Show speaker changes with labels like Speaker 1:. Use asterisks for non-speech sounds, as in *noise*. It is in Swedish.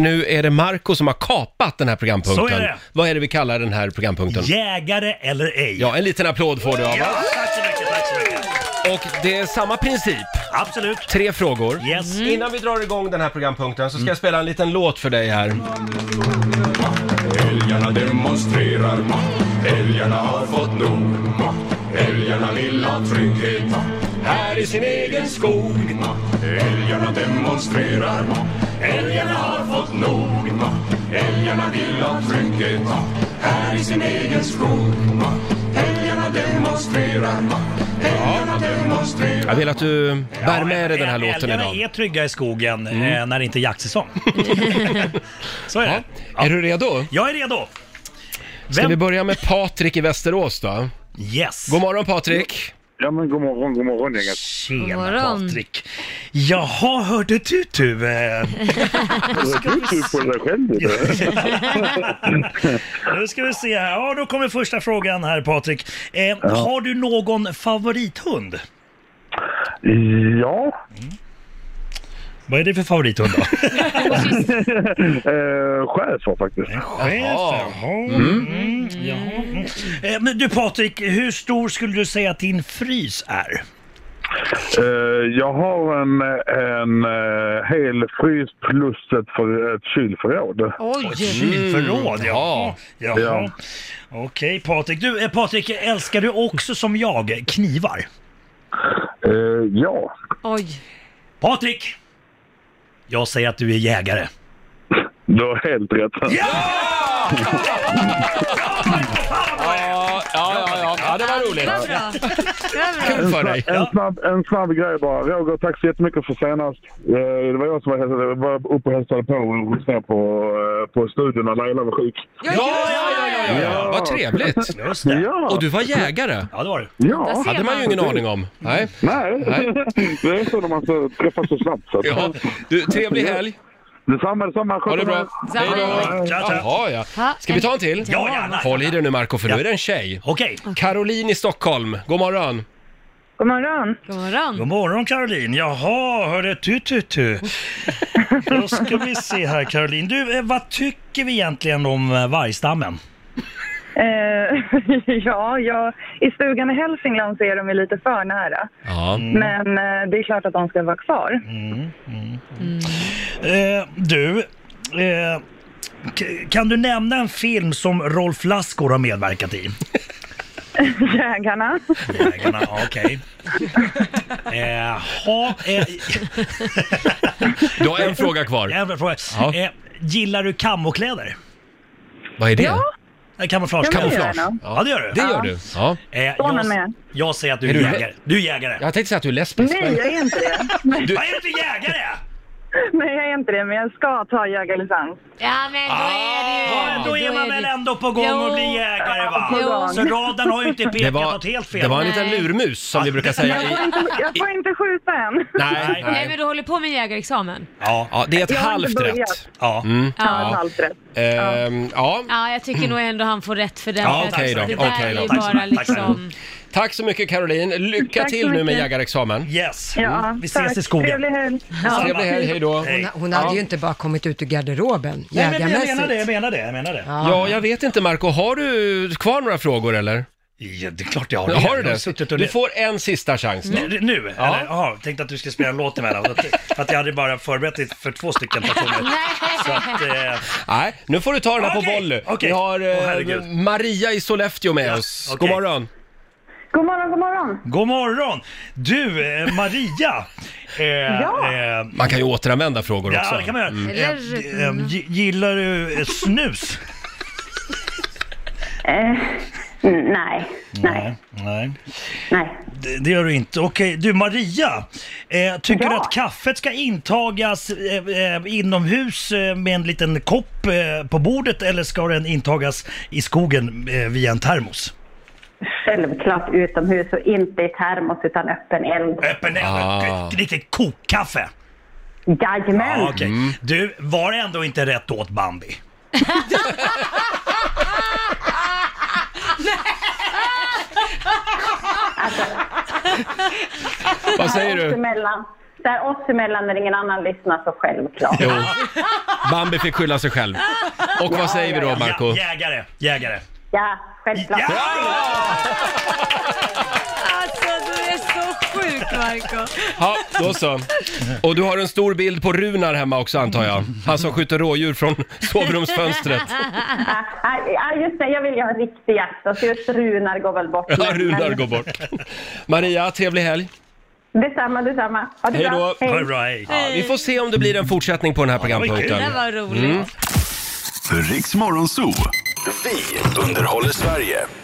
Speaker 1: Nu är det Marco som har kapat den här programpunkten.
Speaker 2: Så är det.
Speaker 1: Vad är det vi kallar den här programpunkten?
Speaker 2: Jägare eller ej?
Speaker 1: Ja, en liten applåd får du av
Speaker 2: Ja,
Speaker 1: oss.
Speaker 2: tack så mycket, tack så mycket.
Speaker 1: Och det är samma princip.
Speaker 2: Absolut.
Speaker 1: Tre frågor. Mm.
Speaker 2: Yes.
Speaker 1: Innan vi drar igång den här programpunkten så ska jag spela en liten låt för dig här.
Speaker 2: Mm.
Speaker 3: Älgarna demonstrerar Älgarna har fått nog Älgarna vill ha trygghet Här i sin egen skog Älgarna demonstrerar Älgarna har fått nog Älgarna vill ha trygghet Här i sin egen skog Älgarna demonstrerar Älgarna demonstrerar
Speaker 1: Jag vill att du bär med dig den här låten
Speaker 2: Älgarna
Speaker 1: idag. Mm.
Speaker 2: är trygga i skogen eh, när det inte är
Speaker 1: *laughs*
Speaker 2: jaktsäsong. så är det.
Speaker 1: Är du redo?
Speaker 2: Jag är redo.
Speaker 1: Ska
Speaker 2: Vem-
Speaker 1: vi börja med Patrik i Västerås då?
Speaker 2: Yes.
Speaker 1: God morgon Patrik!
Speaker 4: Ja men god morgon, god morgon gänget.
Speaker 2: Tjena
Speaker 5: God morgon.
Speaker 2: Patrik. Jaha, hörde du du? eh,
Speaker 4: Du tror på det där själv du.
Speaker 2: Nu ska vi se här. Ja, då kommer första frågan här Patrik. Eh, Har du någon favorithund?
Speaker 4: *laughs* Ja,
Speaker 2: Vad är det för favorithund då?
Speaker 4: eh, schäfer faktiskt.
Speaker 2: Chef, jaha. Mm, jaha. Mm. Eh, Men du Patrik, hur stor skulle du säga att din frys är?
Speaker 4: Eh, jag har en, en eh, hel frys plus ett, för, ett kylförråd.
Speaker 2: Ett
Speaker 5: Oj!
Speaker 2: Kylförråd, Mm. ja. Jaha.
Speaker 4: Ja.
Speaker 2: Okej Patrik. Du eh, Patrik, älskar du också som jag knivar?
Speaker 4: Eh, ja.
Speaker 5: Oj!
Speaker 2: Patrik! Jag säger att du är jägare.
Speaker 4: Du har helt rätt.
Speaker 1: Ja, ja, ja, ja, det var
Speaker 5: Bra,
Speaker 1: roligt.
Speaker 5: bra.
Speaker 1: Kul för dig.
Speaker 4: En snabb, en snabb grej bara. Roger, tack så jättemycket för senast. Eh, det var jag som var, hälsade, var uppe och hälsade på hos er på, eh, på studion när Laila var sjuk.
Speaker 1: Ja, ja, ja, ja, ja. Vad trevligt.
Speaker 2: Just det.
Speaker 4: Ja,
Speaker 1: Och du var jägare.
Speaker 2: Ja, det var du.
Speaker 5: Där
Speaker 4: ja.
Speaker 5: ser
Speaker 1: Hade man ju ingen aning om. Nej.
Speaker 4: Nej,
Speaker 1: Nej.
Speaker 4: *laughs* det är så när man så- träffas så snabbt. Så. att-
Speaker 1: Ja. Du, trevlig helg.
Speaker 4: Detsamma, detsamma.
Speaker 1: Ha det bra. Hej då.
Speaker 5: Detsamma.
Speaker 2: Tja, tja.
Speaker 1: Jaha, ja. Ska vi ta en till?
Speaker 2: Ja, gärna.
Speaker 1: Håll i dig nu Marco för nu är det en tjej.
Speaker 2: Okej.
Speaker 1: Caroline i Stockholm, god morgon.
Speaker 6: God morgon.
Speaker 5: God morgon.
Speaker 2: God morgon Caroline. Jaha, hörde tu tu
Speaker 4: *laughs*
Speaker 2: tu. Då ska vi se här Caroline. Du, eh, vad tycker vi egentligen om eh, vargstammen?
Speaker 6: Eh, *laughs* ja, jag, i stugan i Hälsingland så är de ju lite för nära.
Speaker 1: Ja.
Speaker 2: Mm.
Speaker 6: Men eh, det är klart att de ska vara kvar.
Speaker 2: Eh, du, eh, k- kan du nämna en film som Rolf Lassgård har medverkat i?
Speaker 6: Jägarna.
Speaker 1: *laughs*
Speaker 2: Jägarna, okej. Eh, ha, eh,
Speaker 1: Du har en fråga kvar.
Speaker 2: jävla fråga.
Speaker 1: Ja.
Speaker 2: Eh, gillar du kammokläder?
Speaker 1: Vad är det?
Speaker 2: Eh, Kamouflage?
Speaker 6: Ja, men det gör
Speaker 1: Kamouflage?
Speaker 6: jag nog.
Speaker 2: Ja, det gör du.
Speaker 1: Det gör du? Ja.
Speaker 2: Eh,
Speaker 6: Såna
Speaker 2: jag,
Speaker 6: med.
Speaker 2: jag säger att du är,
Speaker 1: Är du-
Speaker 2: jägare. Du är jägare.
Speaker 1: Jag tänkte säga att du är lesbisk.
Speaker 6: Nej,
Speaker 1: men-
Speaker 6: jag är inte det.
Speaker 2: Vad
Speaker 6: Nej,
Speaker 2: är det för jägare?
Speaker 6: Nej, jag är inte det, men jag ska ta jägarlicens.
Speaker 5: Ja, men då är det ju...
Speaker 2: Ja, då är man väl ändå på gång
Speaker 5: Jo.
Speaker 2: att bli jägare va?
Speaker 5: Jo.
Speaker 2: Så radarn har ju
Speaker 1: *laughs*
Speaker 2: inte
Speaker 1: Det
Speaker 2: pekat
Speaker 1: var,
Speaker 2: åt helt fel.
Speaker 1: det var en
Speaker 5: Nej.
Speaker 1: liten lurmus som vi brukar säga.
Speaker 6: Jag
Speaker 1: I,
Speaker 6: får inte, jag får inte skjuta än.
Speaker 1: nej,
Speaker 5: Nej, men
Speaker 1: nej.
Speaker 5: du håller på med jägarexamen?
Speaker 2: Ja,
Speaker 1: Ja, det är ett
Speaker 6: Jag har
Speaker 1: halvt
Speaker 6: inte börjat.
Speaker 1: rätt.
Speaker 2: ja.
Speaker 1: Mm.
Speaker 5: Ja.
Speaker 6: Allt rätt.
Speaker 1: Ehm, ja.
Speaker 5: Ja, jag tycker nog ändå han får rätt för det.
Speaker 2: Ja,
Speaker 5: för att
Speaker 1: okej då,
Speaker 5: Det där
Speaker 1: okej
Speaker 5: är
Speaker 1: då.
Speaker 5: ju
Speaker 2: Tack så
Speaker 5: bara
Speaker 2: mycket, tack så
Speaker 5: liksom...
Speaker 1: Tack så mycket Caroline. Lycka
Speaker 6: Tack så
Speaker 1: till nu med
Speaker 6: mycket.
Speaker 1: jägarexamen.
Speaker 2: Yes.
Speaker 6: Ja,
Speaker 2: Vi ses
Speaker 6: tack.
Speaker 2: i skogen.
Speaker 6: Trevlig helg.
Speaker 1: Trevlig helg, hej då.
Speaker 2: Hej.
Speaker 7: Hon hade ju inte bara kommit ut ur garderoben
Speaker 2: Nej, men jag
Speaker 7: jägarmässigt.
Speaker 2: menar det, jag menar det, jag menar det.
Speaker 1: Ja, jag vet inte Marco, har du kvar några frågor eller?
Speaker 2: Ja, det är klart jag har det.
Speaker 1: Har du
Speaker 2: Jag suttit
Speaker 1: det?
Speaker 2: och
Speaker 1: Du
Speaker 2: le-
Speaker 1: får en sista chans då.
Speaker 2: Nu? nu
Speaker 1: Ja.
Speaker 2: Eller, aha, tänkte att du skulle spela en låt emellan. Att, att jag hade bara förberett det för två
Speaker 1: *laughs*
Speaker 2: stycken personer. Så att, eh,
Speaker 1: Nej, nu får du ta den här på
Speaker 2: Okej,
Speaker 1: volley.
Speaker 2: okej.
Speaker 1: Vi har eh,
Speaker 2: Åh, herregud.
Speaker 1: Maria i Sollefteå med
Speaker 2: Ja,
Speaker 1: oss.
Speaker 2: okej.
Speaker 1: God morgon.
Speaker 6: God morgon, god morgon.
Speaker 2: god morgon! Du, eh, Maria. Eh,
Speaker 6: Ja.
Speaker 2: eh,
Speaker 1: Man kan ju återanvända frågor också.
Speaker 2: ja, det kan man göra.
Speaker 5: Eller-
Speaker 2: Eh, eh, gi- gillar du eh, snus?
Speaker 6: Mm, Eh, nej, nej,
Speaker 2: Nej.
Speaker 6: nej.
Speaker 2: Det, det gör du inte. Okej, du Maria. Eh, tycker
Speaker 6: Ja.
Speaker 2: du att kaffet ska intagas eh, eh, inomhus eh, med en liten kopp eh, på bordet eller ska den intagas i skogen eh, via en termos?
Speaker 6: Självklart utomhus och inte i termos utan öppen eld.
Speaker 2: Öppen eld,
Speaker 1: Ah.
Speaker 2: ett riktigt kokkaffe. Mm.
Speaker 6: Jajamän.
Speaker 2: Ja, okej. Du, var det ändå inte rätt åt Bambi?
Speaker 1: Vad säger
Speaker 6: Oss
Speaker 1: du?
Speaker 6: emellan.
Speaker 8: Där oss emellan när ingen annan lyssnar så självklart.
Speaker 1: Jo. Bambi fick skylla sig själv. Och vad säger vi då, Marco?
Speaker 2: Ja, jägare, jägare.
Speaker 8: Ja, självklart.
Speaker 2: Ja!
Speaker 5: Alltså du är så sjuk Marco.
Speaker 1: Ja, då så. Och du har en stor bild på Runar hemma också antar jag. Han som skjuter rådjur från *laughs* sovrumsfönstret.
Speaker 8: Ja, ja, just det, jag vill ju ha en riktig jakt. Och så just Runar går väl bort.
Speaker 1: Ja,
Speaker 8: Men-
Speaker 1: Runar
Speaker 8: men-
Speaker 1: går bort. Maria, trevlig helg.
Speaker 8: Detsamma, detsamma. Ha det
Speaker 1: Hej
Speaker 8: bra.
Speaker 1: då.
Speaker 2: Ha det bra, hej.
Speaker 1: Ja, vi får se om det blir en fortsättning på den här
Speaker 5: Det
Speaker 1: programpunkten.
Speaker 5: där var roligt.
Speaker 9: Riks Morgonzoo. Vi underhåller Sverige.